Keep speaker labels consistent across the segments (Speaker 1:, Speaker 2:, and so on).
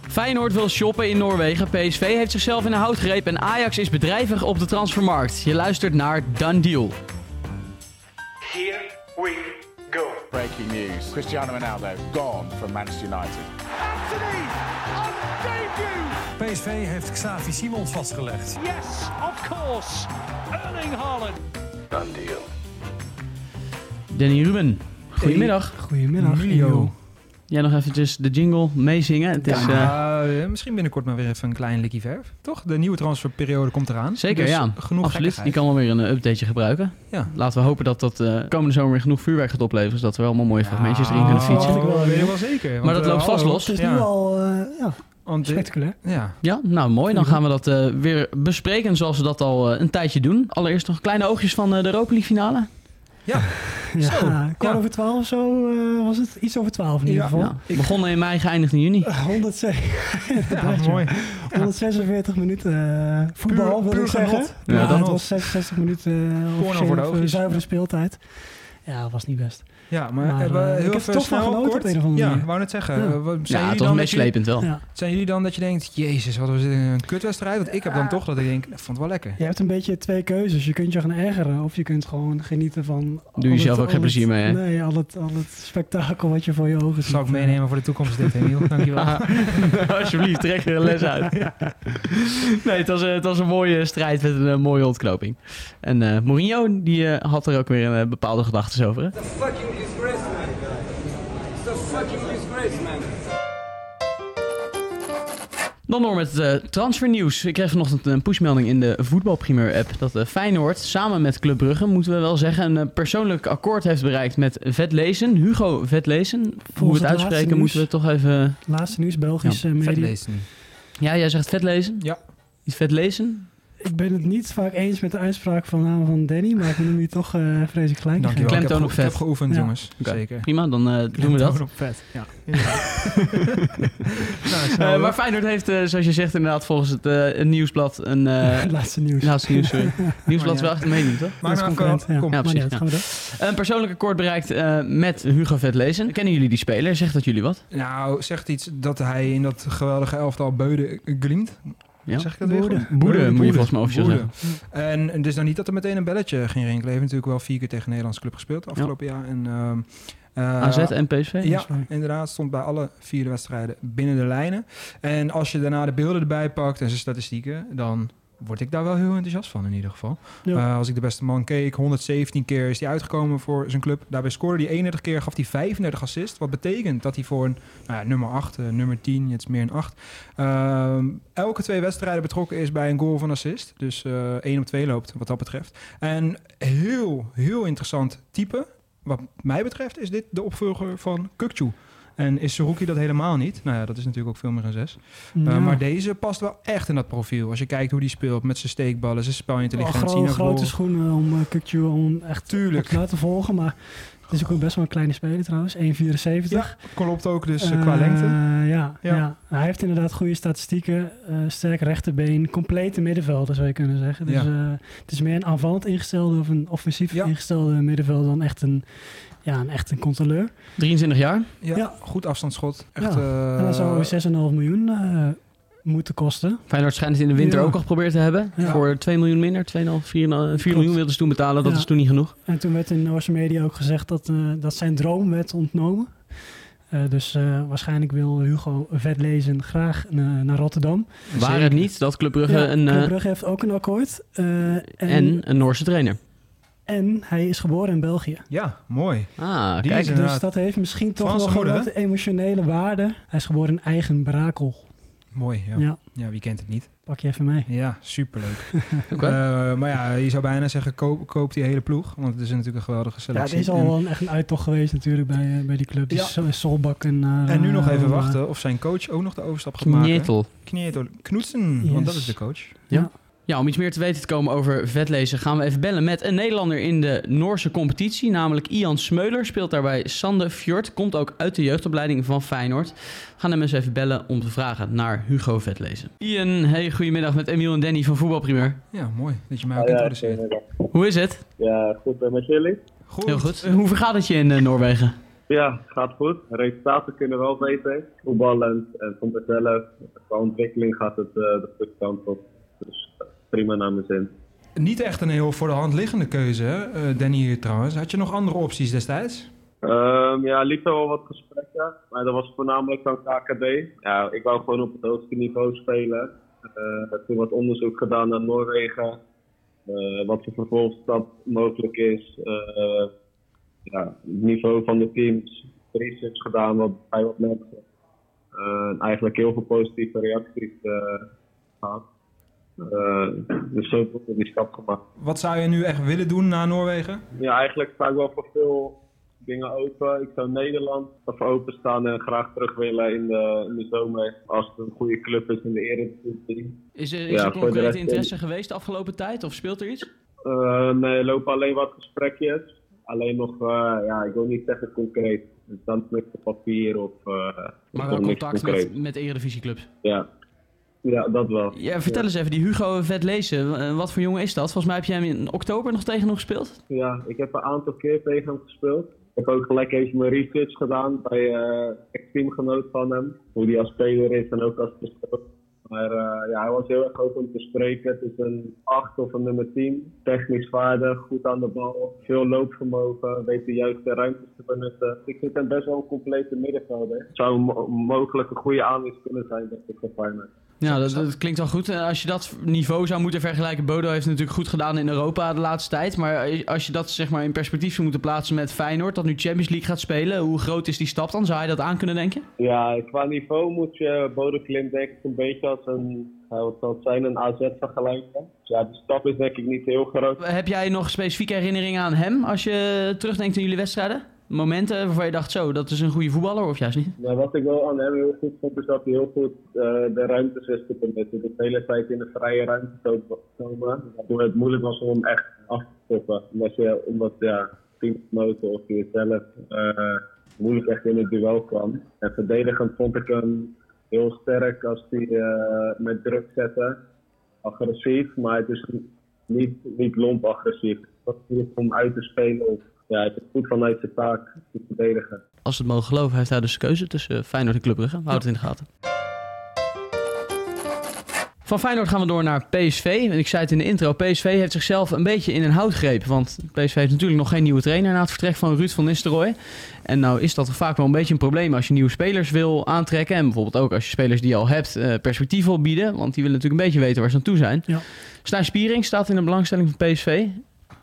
Speaker 1: Feyenoord wil shoppen in Noorwegen, PSV heeft zichzelf in de houtgreep en Ajax is bedrijvig op de transfermarkt. Je luistert naar Done Deal.
Speaker 2: Here we go.
Speaker 3: Breaking news. Cristiano Ronaldo gone from Manchester United.
Speaker 4: Anthony on debut.
Speaker 5: PSV heeft Xavi Simons vastgelegd.
Speaker 4: Yes, of course. Erling Haaland.
Speaker 2: Done deal.
Speaker 1: Danny Ruben, goedemiddag.
Speaker 6: Goedemiddag,
Speaker 5: Miljo.
Speaker 6: Leo.
Speaker 1: Jij nog eventjes de jingle meezingen. Het is, eh,
Speaker 6: Ja, eh, misschien binnenkort maar weer even een klein likkie verf. Toch? De nieuwe transferperiode komt eraan.
Speaker 1: Zeker,
Speaker 6: Dus
Speaker 1: ja.
Speaker 6: Genoeg
Speaker 1: Absoluut. Die
Speaker 6: gekkigheid.
Speaker 1: kan wel weer een eh, updateje gebruiken.
Speaker 6: Ja.
Speaker 1: Laten we hopen dat dat eh, komende zomer weer genoeg vuurwerk gaat opleveren. Zodat we allemaal mooie fragmentjes erin kunnen fietsen.
Speaker 6: Oh, Dat weet weet ik ik
Speaker 5: wel
Speaker 6: wel zeker.
Speaker 1: Maar dat loopt vast los.
Speaker 6: los.
Speaker 1: Het
Speaker 6: Dus
Speaker 1: is
Speaker 6: ja.
Speaker 5: Nu al, eh, ja,
Speaker 6: Want dit-
Speaker 5: spectaculair.
Speaker 6: ja.
Speaker 1: Ja, nou mooi. Dan gaan we dat eh, weer bespreken zoals we dat al eh, een tijdje doen. Allereerst nog kleine oogjes van eh, de Europa League finale.
Speaker 5: Ja,
Speaker 6: Zo,
Speaker 5: kwart
Speaker 6: ja.
Speaker 5: over twaalf zo eh, was het. Iets over twaalf in ieder
Speaker 6: Ja.
Speaker 5: geval.
Speaker 1: Ja, Begonnen in mei, geëindigd in juni.
Speaker 5: 106
Speaker 6: Ja, Ah, mooi.
Speaker 5: 146 minuten eh, voetbal,
Speaker 6: Puur-
Speaker 5: wil
Speaker 6: puur
Speaker 5: ik zeggen.
Speaker 6: genot.
Speaker 1: Ja,
Speaker 5: Ja,
Speaker 6: dan
Speaker 5: het
Speaker 6: ook.
Speaker 5: was 66 minuten eh,
Speaker 6: voor de
Speaker 5: officieel, eh,
Speaker 6: oogjes.
Speaker 5: zuivere speeltijd. Ja, dat was niet best.
Speaker 6: Ja, maar,
Speaker 5: Maar,
Speaker 6: hebben we
Speaker 5: eh, ik heb
Speaker 6: heel
Speaker 5: er
Speaker 6: even
Speaker 5: toch van
Speaker 6: snel
Speaker 5: genoten
Speaker 6: kort.
Speaker 5: op een of andere
Speaker 6: ja,
Speaker 5: manier.
Speaker 6: wou net zeggen.
Speaker 5: Ja.
Speaker 6: eh, wat-
Speaker 1: Ja,
Speaker 6: zijn,
Speaker 1: het
Speaker 6: jullie
Speaker 1: was
Speaker 6: dan dat jullie,
Speaker 1: meeslepend wel.
Speaker 5: Ja.
Speaker 6: zijn jullie dan dat je denkt, jezus, wat was dit een kutwedstrijd? Want ik heb dan toch dat ik denk, ik vond het wel lekker.
Speaker 5: Je hebt een beetje twee keuzes. Je kunt je gaan ergeren of je kunt gewoon genieten van...
Speaker 1: Doe jezelf ook geen plezier mee, hè?
Speaker 5: Nee, al het, al het spektakel wat je voor je ogen ziet.
Speaker 6: Dat zal ik meenemen voor de toekomst dit, Emiel. Dankjewel.
Speaker 1: Alsjeblieft, trek er een les uit. Nee, het was, eh, het was een mooie strijd met een eh, mooie ontknoping. En eh, Mourinho die, eh, had er ook weer een eh, bepaalde gedachten over. hè?
Speaker 7: It's a fucking disgrace, man. It's a fucking disgrace, man.
Speaker 1: Dan door met eh, transfernieuws. Ik kreeg vanochtend een pushmelding in de voetbalprimeur-app... dat eh, Feyenoord samen met Club Brugge, moeten we wel zeggen... een eh, persoonlijk akkoord heeft bereikt met Vetlezen. Hugo Vetlezen. Hoe we
Speaker 5: het
Speaker 1: het
Speaker 5: laatste
Speaker 1: uitspreken
Speaker 5: nieuws.
Speaker 1: moeten we toch even...
Speaker 5: Laatste nieuws, Belgische
Speaker 6: Vet
Speaker 5: media.
Speaker 6: lezen.
Speaker 1: Ja, jij zegt Vetlezen?
Speaker 6: Ja.
Speaker 1: Iets Vetlezen?
Speaker 5: Ik ben het niet vaak eens met de uitspraak van naam van Danny, maar ik wil hem hier toch eh vrees ik gelijk.
Speaker 6: Dankjewel. Ik heb,
Speaker 1: Klemtoon
Speaker 6: ge-
Speaker 1: op
Speaker 6: ik
Speaker 1: vet.
Speaker 6: heb geoefend,
Speaker 5: Ja.
Speaker 6: jongens.
Speaker 1: Oké.
Speaker 6: Zeker.
Speaker 1: Prima, dan eh, doen we dat.
Speaker 6: Klemtoon op vet, ja. Nou, snel,
Speaker 1: Eh,
Speaker 6: hoor.
Speaker 1: maar Feyenoord heeft, eh, zoals je zegt, inderdaad volgens het eh, nieuwsblad een... eh,
Speaker 5: Het laatste nieuws.
Speaker 1: laatste nieuws, sorry. nieuwsblad is
Speaker 6: Maar ja.
Speaker 1: wel echt een mening, toch?
Speaker 6: Maar
Speaker 5: Dat is
Speaker 6: nou,
Speaker 5: concurrent,
Speaker 6: kom.
Speaker 5: ja.
Speaker 6: kom.
Speaker 1: Ja,
Speaker 5: Maar
Speaker 1: precies,
Speaker 5: niet uit,
Speaker 1: ja.
Speaker 5: gaan we door.
Speaker 1: Een persoonlijk akkoord bereikt eh, met Hugo Vetlezen. Kennen jullie die speler? Zegt dat jullie wat?
Speaker 6: Nou, zegt iets dat hij in dat geweldige elftal Beude glimt.
Speaker 1: Ja.
Speaker 6: Zeg ik dat weer goed?
Speaker 5: Boede.
Speaker 1: Boede, moet je volgens mij officieel
Speaker 6: Boede. En het is dan niet dat er meteen een belletje ging rinkelen. Hij heeft natuurlijk wel vier keer tegen een Nederlandse club gespeeld afgelopen jaar. En, ehm, eh,
Speaker 1: AZ en PSV?
Speaker 6: Ja,
Speaker 5: waar.
Speaker 6: inderdaad. Stond bij alle vier de wedstrijden binnen de lijnen. En als je daarna de beelden erbij pakt en zijn statistieken, dan word ik daar wel heel enthousiast van in ieder geval.
Speaker 5: Ja.
Speaker 6: Eh, als ik de beste man keek, 117 keer is hij uitgekomen voor zijn club. Daarbij scoorde hij 31 keer, gaf hij 35 assist. Wat betekent dat hij voor een nou ja, nummer 8, eh, nummer 10, het is meer een 8... ehm, elke twee wedstrijden betrokken is bij een goal van assist. Dus eh 1 op 2 loopt, wat dat betreft. En heel, heel interessant type. Wat mij betreft is dit de opvolger van Kukcu. En is Seruki dat helemaal niet? Nou ja, dat is natuurlijk ook veel meer een 6.
Speaker 5: Ja.
Speaker 6: eh, maar deze past wel echt in dat profiel. Als je kijkt hoe die speelt met zijn steekballen, zijn
Speaker 5: Wel
Speaker 6: spelintelligentie.
Speaker 5: gro-
Speaker 6: naar
Speaker 5: grote
Speaker 6: voren.
Speaker 5: schoenen om eh, Kukju om echt
Speaker 6: Tuurlijk.
Speaker 5: op na te volgen, maar het is ook een best wel een kleine speler trouwens, 1,74.
Speaker 6: Ja, klopt ook dus eh,
Speaker 5: Eh,
Speaker 6: qua lengte.
Speaker 5: ja,
Speaker 6: Ja.
Speaker 5: ja. hij heeft inderdaad goede statistieken, eh, sterk rechterbeen, complete middenvelder zou je kunnen zeggen. Dus
Speaker 6: Ja.
Speaker 5: eh, het is meer een aanvallend ingestelde of een offensief
Speaker 6: Ja.
Speaker 5: ingestelde middenvelder dan echt een, ja, een, echt een controleur.
Speaker 1: 23 jaar.
Speaker 6: Ja,
Speaker 5: ja.
Speaker 6: Goed afstandsschot. Echt,
Speaker 5: Ja.
Speaker 6: eh,
Speaker 5: en dat zou 6,5 miljoen eh, moeten kosten.
Speaker 1: Feyenoord schijnt het in de winter
Speaker 5: Ja.
Speaker 1: ook al geprobeerd te hebben.
Speaker 5: Ja.
Speaker 1: Voor 2 miljoen minder. 2,5, 4, miljoen wilden ze toen betalen. Dat
Speaker 5: Ja.
Speaker 1: is toen niet genoeg.
Speaker 5: En toen werd in Noorse media ook gezegd dat, eh, dat zijn droom werd ontnomen. Eh, dus eh, waarschijnlijk wil Hugo Vetlezen graag na- naar Rotterdam.
Speaker 1: Waar het niet dat Club Brugge
Speaker 5: Ja,
Speaker 1: een, eh,
Speaker 5: Club Brugge heeft ook een akkoord. eh, en,
Speaker 1: en een Noorse trainer.
Speaker 5: en hij is geboren in België.
Speaker 6: Ja, mooi.
Speaker 1: Ah,
Speaker 6: Die
Speaker 1: kijk.
Speaker 6: is inderdaad.
Speaker 5: Dus dat heeft misschien toch
Speaker 6: Franse
Speaker 5: nog
Speaker 6: moeder,
Speaker 5: wel wat emotionele waarde. Hij is geboren in eigen brakel.
Speaker 6: Mooi, ja.
Speaker 5: Ja.
Speaker 6: ja. wie kent het niet?
Speaker 5: pak je even mee.
Speaker 6: Ja, superleuk.
Speaker 1: Oké.
Speaker 6: Eh, maar ja, je zou bijna zeggen, koop, koop die hele ploeg. Want het is natuurlijk een geweldige
Speaker 5: Ja, het
Speaker 6: selectie.
Speaker 5: is al
Speaker 6: En-
Speaker 5: wel een- echt een uittocht geweest natuurlijk bij, eh, bij die club.
Speaker 6: Ja.
Speaker 5: Dus zo is Solbak en... eh,
Speaker 6: en nu nog even
Speaker 5: eh,
Speaker 6: wachten of zijn coach ook nog de overstap gaat maken.
Speaker 1: Nietel.
Speaker 6: Knietel. Knoetsen,
Speaker 5: Yes.
Speaker 6: want dat is de coach.
Speaker 1: Ja, om iets meer te weten te komen over vetlezen gaan we even bellen met een Nederlander in de Noorse competitie. Namelijk Ian Smeuler speelt daarbij Sande Fjord. Komt ook uit de jeugdopleiding van Feyenoord. We gaan hem eens even bellen om te vragen naar Hugo Vetlezen. Ian, hey, goedemiddag met Emiel en Danny van Voetbalprimeur.
Speaker 6: Ja, mooi dat
Speaker 5: Ah,
Speaker 6: je mij ook introduceert.
Speaker 1: Hoe is het?
Speaker 8: Ja, goed. En met jullie?
Speaker 6: Goed.
Speaker 1: Heel goed. Hoe vergaat het je in eh, Noorwegen?
Speaker 8: Ja, gaat goed. Resultaten kunnen wel beter. Voetballend en van mezelf. eh, Qua ontwikkeling gaat het eh, de goede kant op. Dus eh, prima naar mijn zin.
Speaker 6: Niet echt een heel voor de hand liggende keuze, hè, eh, Danny hier trouwens. Had je nog andere opties destijds?
Speaker 8: Ehm, ja, liever wel wat gesprekken, maar dat was voornamelijk van KKD. Ja, ik wou gewoon op het hoogste niveau spelen. Eh, heb toen wat onderzoek gedaan naar Noorwegen, eh, wat de vervolgstap mogelijk is. Eh, ja, het niveau van de teams, research gedaan wat, bij wat mensen. Eh, eigenlijk heel veel positieve reacties eh, gehad. Eh, dus zo heb ik die stap gemaakt.
Speaker 6: Wat zou je nu echt willen doen na Noorwegen?
Speaker 8: Ja, eigenlijk sta ik wel voor veel dingen open. Ik zou Nederland even openstaan en graag terug willen in de, in de zomer. Als het een goede club is in de Eredivisie.
Speaker 1: Is er,
Speaker 8: Ja,
Speaker 1: is er
Speaker 8: voor de rest-
Speaker 1: concrete interesse geweest de afgelopen tijd of speelt er iets?
Speaker 8: Eh nee, er lopen alleen wat gesprekjes. Alleen nog, eh, ja, ik wil niet zeggen concreet. Er staat niks op papier of... eh, er
Speaker 1: Maar
Speaker 8: staat
Speaker 1: wel
Speaker 8: niks
Speaker 1: contact
Speaker 8: concreet.
Speaker 1: met, met Eredivisieclubs.
Speaker 8: Ja. ja, dat wel.
Speaker 1: Ja, vertel eens even, die Hugo Vetlezen, eh, wat voor jongen is dat? Volgens mij heb je hem in oktober nog tegen hem gespeeld.
Speaker 8: Ja, ik heb een aantal keer tegen hem gespeeld. Ik heb ook gelijk even mijn research gedaan bij eh ex-teamgenoot van hem. Hoe hij als speler is en ook als persoon. Maar eh, ja, hij was heel erg open om te spreken. Het is een 8 of een nummer 10. Technisch vaardig, goed aan de bal, veel loopvermogen, weet de juiste ruimtes te benutten. Ik vind hem best wel een complete middenvelder. Het zou een mo- mogelijk een goede aanwinst kunnen zijn, denk ik, voor Feyenoord.
Speaker 1: Ja, dat, dat klinkt wel goed. En Als je dat niveau zou moeten vergelijken, Bodo heeft het natuurlijk goed gedaan in Europa de laatste tijd. Maar eh, als je dat zeg maar in perspectief zou moeten plaatsen met Feyenoord, dat nu Champions League gaat spelen, hoe groot is die stap dan? Zou je dat aan kunnen denken?
Speaker 8: Ja, qua niveau moet je Bodo Klimt denk ik een beetje als een, ja, wat zal het zijn, een AZ vergelijken. Dus ja, de stap is denk ik niet heel groot.
Speaker 1: Heb jij nog specifieke herinneringen aan hem als je terugdenkt aan jullie wedstrijden? Momenten waarvan je dacht, zo, dat is een goede voetballer of juist niet?
Speaker 8: Maar wat ik wel aan hem heel goed vond, is dat hij heel goed eh, de ruimtes wist te benutten. De hele tijd in de vrije ruimte zou komen, waardoor het moeilijk was om hem echt af te stoppen. Omdat, je, omdat ja, teamgenoten of je zelf eh, moeilijk echt in het duel kwam. En verdedigend vond ik hem heel sterk als hij eh, met druk zette. agressief, maar het is niet, niet lomp agressief. Dat is niet om uit te spelen. of- Ja, het is goed vanuit zijn taak te verdedigen.
Speaker 1: Als we het mogen geloven, heeft hij dus keuze tussen eh, Feyenoord en Club Brugge. Houd het in de gaten. Van Feyenoord gaan we door naar PSV. En ik zei het in de intro, PSV heeft zichzelf een beetje in een houtgreep. Want PSV heeft natuurlijk nog geen nieuwe trainer na het vertrek van Ruud van Nistelrooy. En nou is dat vaak wel een beetje een probleem als je nieuwe spelers wil aantrekken. En bijvoorbeeld ook als je spelers die je al hebt eh, perspectief wil bieden. Want die willen natuurlijk een beetje weten waar ze aan toe zijn.
Speaker 5: Ja.
Speaker 1: Stijn Spiering staat in de belangstelling van PSV.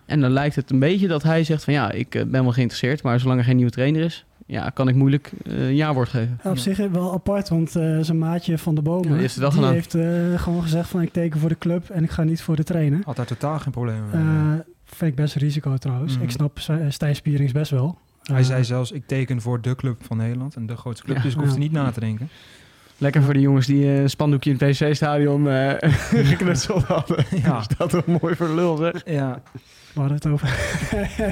Speaker 1: En dan lijkt het een beetje dat hij zegt van ja, ik eh, ben wel geïnteresseerd, maar zolang er geen nieuwe trainer is, ja, kan ik moeilijk eh ja-woord geven.
Speaker 5: Ja, op zich wel apart, want eh, zijn maatje van de bomen
Speaker 1: Ja, die heeft het wel
Speaker 5: die
Speaker 1: gedaan.
Speaker 5: heeft eh, gewoon gezegd van ik teken voor de club en ik ga niet voor de trainer.
Speaker 6: Had daar totaal geen probleem mee.
Speaker 5: Eh vind ik best een risico trouwens.
Speaker 6: Mhm.
Speaker 5: Ik snap Stijn- Stijn Spierings best wel.
Speaker 6: Hij
Speaker 5: Eh,
Speaker 6: zei zelfs, ik teken voor de club van Nederland. En de grootste club,
Speaker 1: Ja.
Speaker 6: dus ik hoef er
Speaker 5: Ja.
Speaker 6: niet na te denken.
Speaker 1: Lekker voor de jongens die eh, een spandoekje in het PSV-stadion geknutseld hadden.
Speaker 6: Ja.
Speaker 1: Dat wel mooi voor de lul, zeg.
Speaker 6: ja.
Speaker 5: We hadden het over.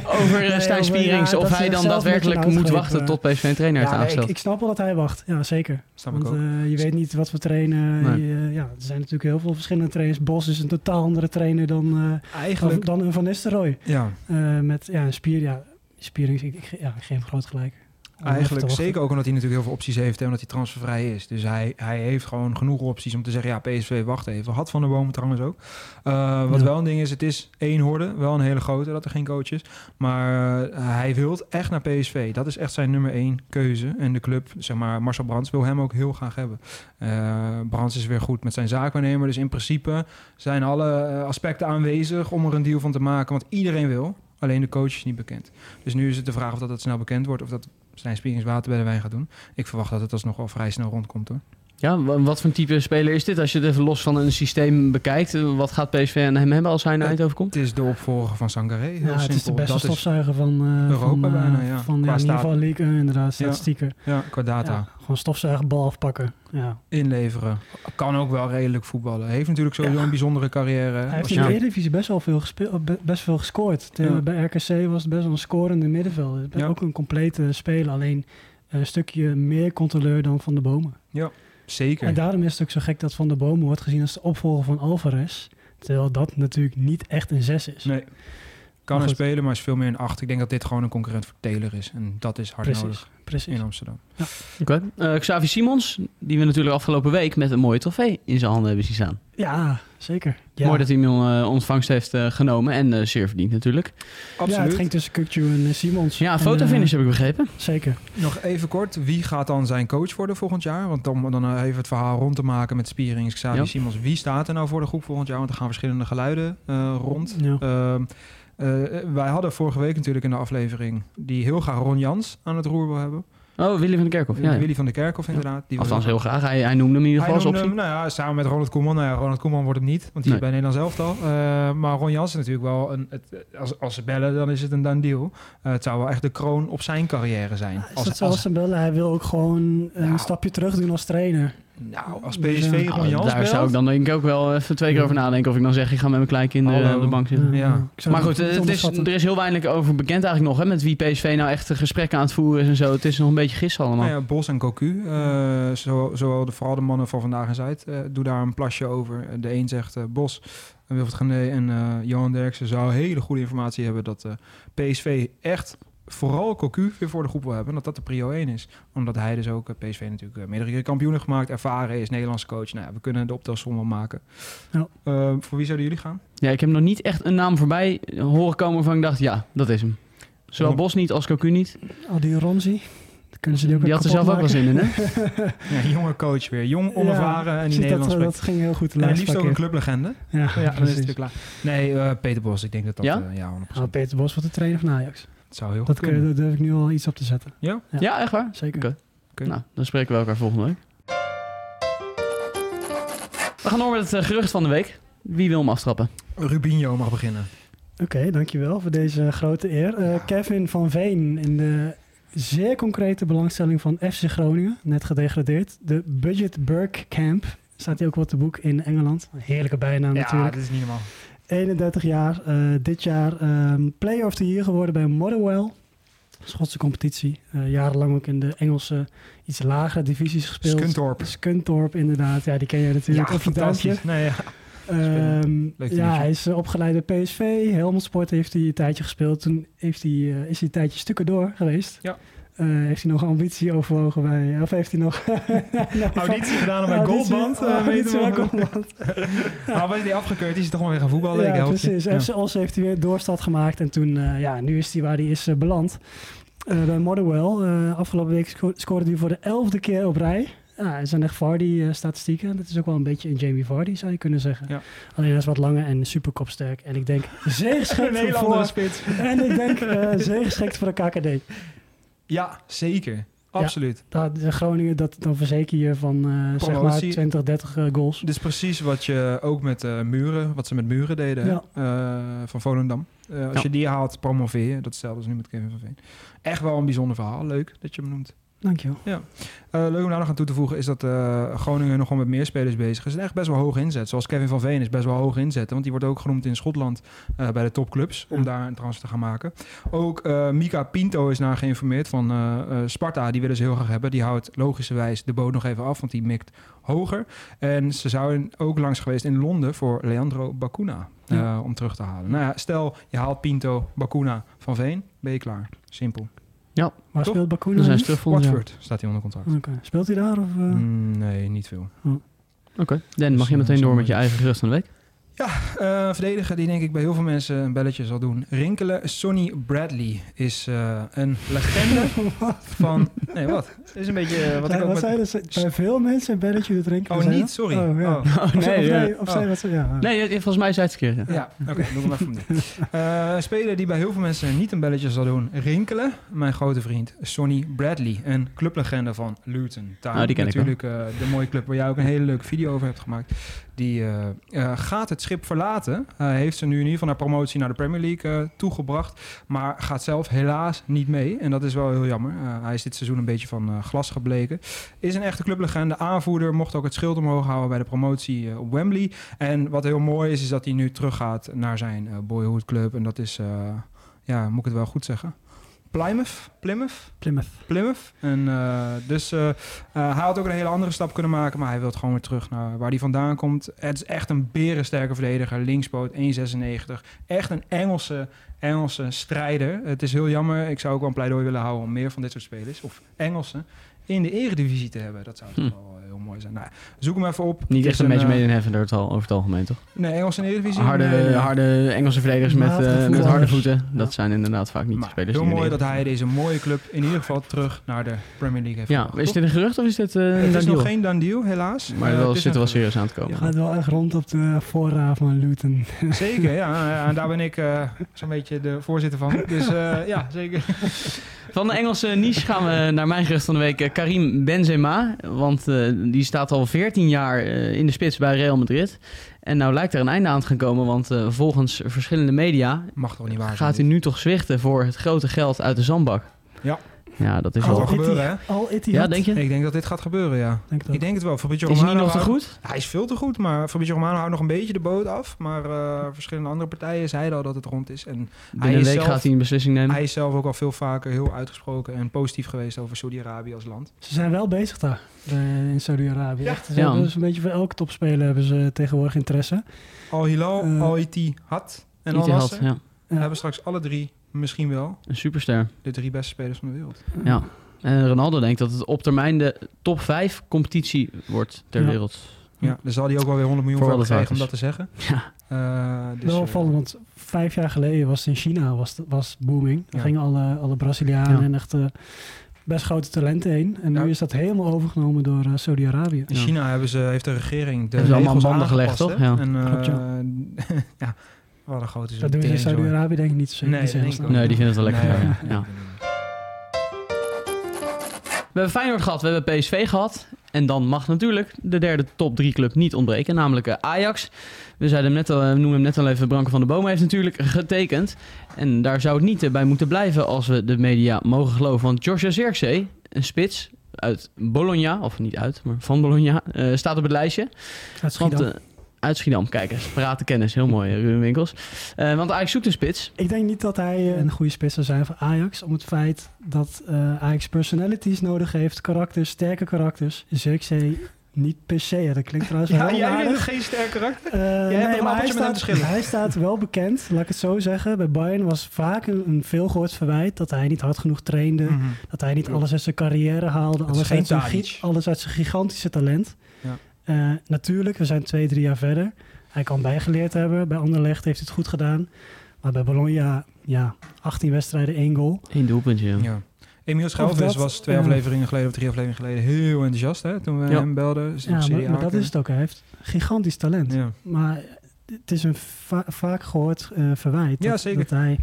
Speaker 1: Over eh,
Speaker 5: Nee,
Speaker 1: Stijn
Speaker 5: over, ja,
Speaker 1: Spierings,
Speaker 5: dat
Speaker 1: of
Speaker 5: ze
Speaker 1: hij dan
Speaker 5: zichzelf
Speaker 1: daadwerkelijk
Speaker 5: met een
Speaker 1: moet
Speaker 5: houtgreep,
Speaker 1: wachten
Speaker 5: eh,
Speaker 1: tot PSV een trainer heeft
Speaker 5: Ja, nee, ik,
Speaker 1: aangesteld.
Speaker 5: ik snap wel dat hij wacht. Ja, zeker.
Speaker 6: Snap ik
Speaker 5: Want
Speaker 6: ook.
Speaker 5: eh, je weet niet wat voor trainen. je- eh, ja, er zijn natuurlijk heel veel verschillende trainers. Bos is een totaal andere trainer dan, eh, dan,
Speaker 6: Eigenlijk,
Speaker 5: dan een Van Nistelrooy.
Speaker 6: ja,
Speaker 5: Eh, met ja, een spier, ja, Spierings, ik, ik ge- ja, ik geef hem groot gelijk. Om even te
Speaker 6: eigenlijk
Speaker 5: wachten.
Speaker 6: zeker ook omdat hij natuurlijk heel veel opties heeft en omdat hij transfervrij is. Dus hij, hij heeft gewoon genoeg opties om te zeggen, ja, PSV, wacht even. Had Van der Bomen trouwens ook. Eh, wat
Speaker 5: Ja.
Speaker 6: wel een ding is, het is één horde, wel een hele grote, dat er geen coach is. Maar eh, hij wil echt naar PSV. Dat is echt zijn nummer één keuze. En de club, zeg maar, Marcel Brands wil hem ook heel graag hebben. Eh, Brands is weer goed met zijn zaakwaarnemer. Dus in principe zijn alle eh, aspecten aanwezig om er een deal van te maken. Want iedereen wil, alleen de coach is niet bekend. Dus nu is het de vraag of dat, dat snel bekend wordt of dat zijn Spierings water bij de wijn gaat doen. Ik verwacht dat het alsnog wel vrij snel rondkomt hoor.
Speaker 1: Ja, wa- wat voor een type speler is dit? Als je het even los van een systeem bekijkt, eh, wat gaat PSV aan hem hebben als hij naar
Speaker 6: Eh,
Speaker 1: Eindhoven komt?
Speaker 6: Het is de opvolger van Sangaré. Heel
Speaker 5: Ja, het is de
Speaker 6: simpel.
Speaker 5: beste
Speaker 6: Dat is-
Speaker 5: stofzuiger van eh,
Speaker 6: Europa
Speaker 5: van, eh,
Speaker 6: bijna, ja.
Speaker 5: Van,
Speaker 6: Qua
Speaker 5: ja, in ieder geval
Speaker 6: staat-
Speaker 5: league, eh, inderdaad, statistieken.
Speaker 6: ja, qua data.
Speaker 5: Ja, gewoon stofzuigen, bal afpakken. Ja.
Speaker 6: Inleveren. Kan ook wel redelijk voetballen. Heeft natuurlijk sowieso een bijzondere carrière.
Speaker 5: Hij heeft
Speaker 6: Als
Speaker 5: in
Speaker 6: je-
Speaker 5: de Eredivisie best wel veel, gespeeld, be- best veel gescoord. Te-
Speaker 6: Ja.
Speaker 5: Bij RKC was het best wel een scorende middenvelder. Het is
Speaker 6: Ja.
Speaker 5: Ook een complete speler, alleen een stukje meer controleur dan Van de Bomen.
Speaker 6: Zeker.
Speaker 5: En daarom is het ook zo gek dat Van de Bomen wordt gezien als de opvolger van Alvarez. Terwijl dat natuurlijk niet echt een zes is.
Speaker 6: Nee. Kan
Speaker 5: Maar
Speaker 6: er
Speaker 5: goed.
Speaker 6: spelen, maar is veel meer een 8. Ik denk dat dit gewoon een concurrent voor Taylor is. En dat is hard
Speaker 5: Precies,
Speaker 6: nodig
Speaker 5: precies.
Speaker 6: in Amsterdam.
Speaker 1: Oké. Eh, Xavi Simons, die we natuurlijk afgelopen week met een mooie trofee in zijn handen hebben zien staan.
Speaker 5: Ja, zeker. Ja.
Speaker 1: Mooi dat hij hem eh, ontvangst heeft eh, genomen en eh, zeer verdiend natuurlijk.
Speaker 6: Absoluut.
Speaker 5: Ja, het ging tussen Kukju en eh, Simons.
Speaker 1: Ja, een
Speaker 5: En,
Speaker 1: fotofinish heb ik begrepen.
Speaker 5: eh, zeker.
Speaker 6: Nog even kort, wie gaat dan zijn coach worden volgend jaar? Want om dan eh, even het verhaal rond te maken met Spierings, Xavi
Speaker 1: Ja.
Speaker 6: Simons. Wie staat er nou voor de groep volgend jaar? Want er gaan verschillende geluiden eh, rond.
Speaker 5: Ja.
Speaker 6: Ehm, eh, wij hadden vorige week natuurlijk in de aflevering... die heel graag Ron Jans aan het roer wil hebben.
Speaker 1: Oh, Willy van der Kerkhoff. Ja, ja.
Speaker 6: Willy van der Kerkhoff inderdaad. Die
Speaker 1: Althans
Speaker 6: wil-
Speaker 1: heel graag. Hij, hij noemde hem in ieder geval
Speaker 6: Hij
Speaker 1: als
Speaker 6: noemde
Speaker 1: optie.
Speaker 6: hem, nou ja, samen met Ronald Koeman. Nou ja, Ronald Koeman wordt hem niet, want die is bij Nederland zelf al. Eh, maar Ron Jans is natuurlijk wel... Een, het, als, als ze bellen, dan is het een done deal. Eh, het zou wel echt de kroon op zijn carrière zijn.
Speaker 5: Is
Speaker 6: als,
Speaker 5: dat
Speaker 6: als-
Speaker 5: zoals bellen? Hij wil ook gewoon een
Speaker 6: Nou.
Speaker 5: stapje terug doen als trainer.
Speaker 6: Nou, als
Speaker 5: Dus,
Speaker 6: PSV
Speaker 5: eh,
Speaker 1: Nou,
Speaker 6: Ron Jans
Speaker 1: daar zou ik dan denk ik ook wel even twee keer over nadenken of ik dan zeg, ik ga met mijn kleinkinderen
Speaker 6: Hallo.
Speaker 1: op de bank zitten.
Speaker 6: Ja.
Speaker 5: Ik zou
Speaker 1: Maar goed,
Speaker 5: niet
Speaker 1: eh, het is,
Speaker 5: onderschatten.
Speaker 1: er is heel weinig over bekend eigenlijk nog, hè, met wie PSV nou echt eh, gesprekken aan het voeren is en zo. Het is nog een beetje gissen allemaal.
Speaker 6: Nou ja, Bos en Cocu, eh, zo, zowel de, vooral de mannen van Vandaag en Zuid, eh, doen daar een plasje over. De een zegt eh, Bos, en Wilfried Gené en eh, Johan Derksen zou hele goede informatie hebben dat eh, PSV echt vooral Cocu weer voor de groep wil hebben. en Dat dat de prio 1 is. Omdat hij dus ook, eh, PSV natuurlijk eh, meerdere keer kampioen heeft gemaakt, ervaren is, Nederlandse coach. Nou ja, we kunnen de optelsom wel maken.
Speaker 5: Ja.
Speaker 6: Eh, voor wie zouden jullie gaan?
Speaker 1: Ja, ik heb nog niet echt een naam voorbij horen komen waarvan ik dacht, ja, dat is hem. Zowel
Speaker 6: Onder-
Speaker 1: Bos niet als Cocu niet.
Speaker 5: Al Oh, die Ronzi, dan kunnen ze die ook
Speaker 1: Die
Speaker 5: weer
Speaker 1: had er zelf
Speaker 5: kapot
Speaker 1: ook wel
Speaker 5: maken.
Speaker 1: zin in, hè?
Speaker 6: Ja, jonge coach weer, jong,
Speaker 5: Ja,
Speaker 6: onervaren en
Speaker 5: precies,
Speaker 6: die Nederlands
Speaker 5: dat, eh,
Speaker 6: spreekt.
Speaker 5: dat ging heel goed de
Speaker 6: En
Speaker 5: laatste
Speaker 6: liefst ook
Speaker 5: keer.
Speaker 6: een clublegende.
Speaker 5: Ja,
Speaker 6: Ja, dan is het
Speaker 5: precies.
Speaker 6: weer klaar. Nee, eh, Peter Bos, ik denk dat dat...
Speaker 1: Ja?
Speaker 6: eh, ja 100%.
Speaker 5: Nou, Peter Bos wordt de trainer van Ajax.
Speaker 6: Het zou heel
Speaker 5: Dat
Speaker 6: goed kunnen.
Speaker 5: kun, daar durf ik nu al iets op te zetten.
Speaker 1: Ja,
Speaker 5: Ja.
Speaker 1: echt waar?
Speaker 5: Zeker.
Speaker 1: Oké.
Speaker 6: Oké.
Speaker 1: Nou, dan spreken we elkaar volgende week. We gaan door met het eh, gerucht van de week. Wie wil hem aftrappen?
Speaker 6: Rubinho mag beginnen.
Speaker 5: Oké, dankjewel voor deze grote eer. Eh, Kevin van Veen in de zeer concrete belangstelling van FC Groningen, net gedegradeerd. De Budget Burke Camp, staat hij ook wat te boek in Engeland. Een heerlijke bijnaam natuurlijk.
Speaker 6: is niet normaal.
Speaker 5: 31 jaar, eh, dit jaar ehm Player of the Year geworden bij Motherwell. Schotse competitie, eh, jarenlang ook in de Engelse iets lagere divisies gespeeld.
Speaker 6: Skuntorp.
Speaker 5: Skuntorp, inderdaad. Ja, die ken je natuurlijk.
Speaker 6: Ja,
Speaker 5: Of een duimpje.
Speaker 6: fantastisch. Nee, ja.
Speaker 5: Ehm,
Speaker 6: Leuk
Speaker 5: ja,
Speaker 6: teamje.
Speaker 5: hij is eh, opgeleid bij PSV. Helmond Sport heeft hij een tijdje gespeeld. Toen heeft hij, eh, is hij een tijdje stukken door geweest.
Speaker 6: Ja.
Speaker 5: Eh, heeft hij nog ambitie overwogen bij... Of heeft hij nog...
Speaker 6: Auditie gedaan bij
Speaker 5: Auditie-
Speaker 6: Goldband. eh, weet
Speaker 5: auditie
Speaker 6: je
Speaker 5: bij
Speaker 6: wel. Nou,
Speaker 5: Goldband.
Speaker 6: Maar was die afgekeurd? Is hij toch wel weer gaan voetballen? ik
Speaker 5: Ja,
Speaker 6: help je.
Speaker 5: precies.
Speaker 6: Ja.
Speaker 5: FC Os heeft hij weer doorstart gemaakt. En toen, eh, ja, nu is hij waar hij is eh, beland. Eh, bij Motherwell. eh, afgelopen week sco- scoorde hij voor de elfde keer op rij. Ja, het zijn echt Vardy-statistieken. dat is ook wel een beetje een Jamie Vardy, zou je kunnen zeggen.
Speaker 6: Ja.
Speaker 5: Alleen dat is wat langer en superkopsterk. En ik denk,
Speaker 6: Een
Speaker 5: zeegeschikt
Speaker 6: hele andere
Speaker 5: voor...
Speaker 6: spits.
Speaker 5: En ik denk, eh zeegeschikt voor de KKD.
Speaker 6: Ja, zeker. Absoluut.
Speaker 5: Dat, de Groningen, dat, dan verzeker je van eh, zeg maar
Speaker 6: Promotie.
Speaker 5: 20, 30 eh, goals.
Speaker 6: Dit is precies wat je ook met eh, muren, wat ze met muren deden hè? Eh, van Volendam. Eh, als
Speaker 1: Ja.
Speaker 6: je die haalt, promoveer je. Dat stelde als nu met Kevin van Veen. Echt wel een bijzonder verhaal. Leuk dat je hem noemt.
Speaker 5: Dankjewel.
Speaker 6: Eh, leuk om daar nog aan toe te voegen is dat eh, Groningen nogal met meer spelers bezig is. En echt best wel hoog inzet. Zoals Kevin van Veen is best wel hoog inzetten. Want die wordt ook genoemd in Schotland eh, bij de topclubs. Om
Speaker 5: Ja.
Speaker 6: daar een transfer te gaan maken. Ook eh, Mika Pinto is naar geïnformeerd van eh, eh, Sparta. Die willen ze heel graag hebben. Die houdt logischerwijs de boot nog even af. Want die mikt hoger. En ze zouden ook langs geweest in Londen voor Leandro Bacuna. eh,
Speaker 5: Ja.
Speaker 6: Om terug te halen. Nou ja, stel je haalt Pinto, Bacuna, Van Veen. Ben je klaar. Simpel.
Speaker 5: Waar
Speaker 6: Toch?
Speaker 5: speelt Bakuna?
Speaker 1: Dan zijn
Speaker 5: nu?
Speaker 1: ze terug volgend jaar.
Speaker 6: Watford staat hij onder contract.
Speaker 5: Oké. Speelt hij daar? Of, eh?
Speaker 6: Mm, nee, niet veel.
Speaker 1: Oké. Dan mag je meteen door met je eigen gerucht van de week.
Speaker 6: Eh, verdediger die denk ik bij heel veel mensen een belletje zal doen. Rinkelen, Sonny Bradley is eh, een legende van... Nee, wat? Is een beetje eh, wat
Speaker 5: Ja,
Speaker 6: ik ook
Speaker 5: wat
Speaker 6: met...
Speaker 5: zeiden ze? Bij veel mensen een belletje te drinken.
Speaker 6: Oh,
Speaker 5: zei
Speaker 6: niet?
Speaker 5: dat?
Speaker 6: Sorry.
Speaker 5: Oh, ja.
Speaker 6: Oh.
Speaker 1: Oh,
Speaker 5: Of zij-
Speaker 1: nee,
Speaker 5: of
Speaker 1: ja.
Speaker 5: nee, of zij wat ze... Ja.
Speaker 1: nee, ja, volgens mij zei het verkeerd. ja.
Speaker 6: Ja, oké, doe hem even opnieuw. Eh, Een speler die bij heel veel mensen niet een belletje zal doen. Rinkelen, mijn grote vriend Sonny Bradley. Een clublegende van Luton Town.
Speaker 1: Oh, die ken ik wel.
Speaker 6: Natuurlijk eh, de mooie club waar jij ook een hele leuke video over hebt gemaakt. Die eh, eh, gaat het schip verlaten. Hij heeft ze nu in ieder geval naar promotie naar de Premier League eh, toegebracht. Maar gaat zelf helaas niet mee. En dat is wel heel jammer. Eh, hij is dit seizoen een beetje van eh, glas gebleken. Is een echte clublegende. Aanvoerder mocht ook het schild omhoog houden bij de promotie eh, op Wembley. En wat heel mooi is, is dat hij nu teruggaat naar zijn eh boyhood club. En dat is, eh, ja, moet ik het wel goed zeggen? Plymouth. Plymouth.
Speaker 5: Plymouth.
Speaker 6: Plymouth. En, eh, dus eh, eh, hij had ook een hele andere stap kunnen maken, maar hij wil het gewoon weer terug naar waar hij vandaan komt. Het is echt een berensterke verdediger, linkspoot 1,96. Echt een Engelse, Engelse strijder. Het is heel jammer, ik zou ook wel een pleidooi willen houden om meer van dit soort spelers, of Engelsen, in de eredivisie te hebben. Dat zou toch
Speaker 1: Hm.
Speaker 6: wel heel mooi zijn. Nou, ja, zoek hem even op. Het
Speaker 1: Niet
Speaker 6: is
Speaker 1: echt een match
Speaker 6: eh,
Speaker 1: made in heaven door het al- over het algemeen, toch?
Speaker 6: Nee, Engelse in de eredivisie.
Speaker 1: Harde,
Speaker 6: Nee, nee.
Speaker 1: harde Engelse verdedigers met,
Speaker 5: Matige
Speaker 1: eh, met harde
Speaker 5: voetballers.
Speaker 1: voeten. Dat zijn inderdaad vaak niet de
Speaker 6: Maar
Speaker 1: spelers.
Speaker 6: heel
Speaker 1: die in de
Speaker 6: mooi dat
Speaker 1: Eredivisie-
Speaker 6: hij deze mooie club in ieder geval terug naar de Premier League heeft
Speaker 1: Ja,
Speaker 6: gebracht,
Speaker 1: is
Speaker 6: toch?
Speaker 1: dit een gerucht of is dit eh, een
Speaker 6: Het is nog
Speaker 1: deal?
Speaker 6: geen done deal, helaas.
Speaker 1: Maar
Speaker 6: Eh,
Speaker 1: er
Speaker 6: het is
Speaker 1: zit er wel
Speaker 6: nog-
Speaker 1: serieus aan te komen.
Speaker 5: Gaat wel echt rond op de voorraad van Luton.
Speaker 6: Zeker, ja. ja, En daar ben ik eh, zo'n beetje de voorzitter van. Dus eh, ja, zeker.
Speaker 1: Van de Engelse niche gaan we naar mijn gerucht van de week. eh, Karim Benzema. Want eh, die staat al 14 jaar eh, in de spits bij Real Madrid. En nou lijkt er een einde aan te gaan komen. Want eh, volgens verschillende media
Speaker 6: Mag toch niet waar zijn.
Speaker 1: gaat hij
Speaker 6: dit?
Speaker 1: nu toch zwichten voor het grote geld uit de zandbak.
Speaker 6: Ja. Oh,
Speaker 1: Ja, dat is
Speaker 6: Gaat
Speaker 1: wel...
Speaker 6: wel gebeuren,
Speaker 5: Itti- Al Itty
Speaker 1: Ja, denk je?
Speaker 6: Ik denk dat dit gaat gebeuren, ja.
Speaker 5: Denk dat.
Speaker 6: Ik denk het wel. Fabrizio
Speaker 1: Is hij
Speaker 6: Romano
Speaker 1: niet nog te
Speaker 6: houdt-
Speaker 1: goed?
Speaker 6: Hij is veel te goed, maar Fabrizio Romano houdt nog een beetje de boot af. Maar eh, verschillende andere partijen zeiden al dat het rond is. En
Speaker 1: Binnen een
Speaker 6: is
Speaker 1: week
Speaker 6: zelf-
Speaker 1: gaat hij een beslissing nemen.
Speaker 6: hij is zelf ook al veel vaker heel uitgesproken en positief geweest over Saudi-Arabië als land.
Speaker 5: Ze zijn wel bezig daar eh, in Saudi-Arabië. Echt, Ze
Speaker 1: Ja.
Speaker 5: hebben Dus een beetje voor elke topspeler hebben ze tegenwoordig interesse.
Speaker 6: Al Hilal,
Speaker 5: Eh,
Speaker 6: Al Iti, Had en
Speaker 1: Niet
Speaker 6: Al
Speaker 1: te
Speaker 6: Nasser
Speaker 1: held, ja.
Speaker 6: hebben straks alle drie misschien wel
Speaker 1: Een superster.
Speaker 6: de drie beste spelers van de wereld.
Speaker 1: Ja. En Ronaldo denkt dat het op termijn de top 5 competitie wordt ter
Speaker 5: Ja.
Speaker 1: wereld.
Speaker 6: Ja, Dus daar zal hij ook wel weer 100 miljoen
Speaker 1: Voor
Speaker 6: voor
Speaker 1: alle
Speaker 6: krijgen om dat te
Speaker 1: fouters.
Speaker 6: zeggen.
Speaker 1: Ja.
Speaker 6: Eh, dus,
Speaker 5: wel
Speaker 6: eh,
Speaker 5: opvallend, want vijf jaar geleden was het in China was, het- was het booming. Daar
Speaker 6: Ja.
Speaker 5: gingen alle, alle Brazilianen
Speaker 1: Ja.
Speaker 5: en echt eh, best grote talenten heen. En
Speaker 6: Ja.
Speaker 5: nu is dat helemaal overgenomen door eh, Saudi-Arabië.
Speaker 6: In
Speaker 1: Ja.
Speaker 6: China hebben ze, heeft de regering de
Speaker 1: Hebben ze allemaal
Speaker 6: regels
Speaker 1: banden gelegd,
Speaker 6: aangepast,
Speaker 1: toch?
Speaker 6: hè?
Speaker 1: Ja.
Speaker 6: En, eh,
Speaker 5: Klopt,
Speaker 6: ja, wat een grote
Speaker 5: Dat doen ze in
Speaker 6: teringzooi.
Speaker 5: Saudi-Arabië denk ik niet zo.
Speaker 6: Nee,
Speaker 5: niet zo heel
Speaker 6: dat denk ik
Speaker 5: snel.
Speaker 6: ook
Speaker 1: Nee, die vinden het wel lekker.
Speaker 6: Nee,
Speaker 1: ja.
Speaker 6: ja.
Speaker 1: Ja. We hebben Feyenoord gehad, we hebben PSV gehad. En dan mag natuurlijk de derde top 3 club niet ontbreken, namelijk eh, Ajax. We zeiden hem net al, eh, we noemen hem net al even, Branko van der Boom heeft natuurlijk getekend. En daar zou het niet eh, bij moeten blijven als we de media mogen geloven. Want Joshua Zirkzee, een spits uit Bologna, of niet uit, maar van Bologna, eh, staat op het lijstje.
Speaker 5: Uit Schiedam.
Speaker 1: Want, eh, uit Schiedam, kijk eens, praten kennis, heel mooi, eh, Ruben Winkels. Eh, want Ajax zoekt een spits.
Speaker 5: Ik denk niet dat hij eh, een goede spits zou zijn voor Ajax. Om het feit dat eh, Ajax personalities nodig heeft. Karakters, sterke karakters. Zirkzee niet per se. Ja, Dat klinkt trouwens wel
Speaker 6: Ja,
Speaker 5: heel
Speaker 6: jij bent
Speaker 5: onaardig.
Speaker 6: geen sterk karakter.
Speaker 5: Eh,
Speaker 6: hebt
Speaker 5: nee,
Speaker 6: een
Speaker 5: maar hij
Speaker 6: appeltje met hem te
Speaker 5: staat,
Speaker 6: schillen.
Speaker 5: hij staat wel bekend, laat ik het zo zeggen. Bij Bayern was vaak een, een veelgehoord verwijt dat hij niet hard genoeg trainde.
Speaker 6: Mhm.
Speaker 5: Dat hij niet alles uit zijn carrière haalde.
Speaker 6: is
Speaker 5: Alles
Speaker 6: geen
Speaker 5: uit, zijn,
Speaker 6: Tadic.
Speaker 5: gi- alles uit zijn gigantische talent.
Speaker 6: Ja.
Speaker 5: Eh, natuurlijk, we zijn twee, drie jaar verder. Hij kan bijgeleerd hebben. Bij Anderlecht heeft hij het goed gedaan. Maar bij Bologna, ja, 18 wedstrijden, één goal.
Speaker 1: Eén doelpuntje. ja.
Speaker 6: Ja. Emiel
Speaker 5: dat,
Speaker 6: Schelvis was twee
Speaker 5: ja.
Speaker 6: afleveringen geleden of drie afleveringen geleden heel enthousiast hè, toen we
Speaker 1: Ja.
Speaker 6: hem belden. Dus
Speaker 5: Ja,
Speaker 6: op Serie
Speaker 5: maar,
Speaker 6: A
Speaker 5: maar dat
Speaker 6: kunnen.
Speaker 5: is het ook. Hij heeft gigantisch talent.
Speaker 6: Ja.
Speaker 5: Maar het is een va- vaak gehoord eh, verwijt.
Speaker 6: Ja,
Speaker 5: dat,
Speaker 6: zeker.
Speaker 5: dat hij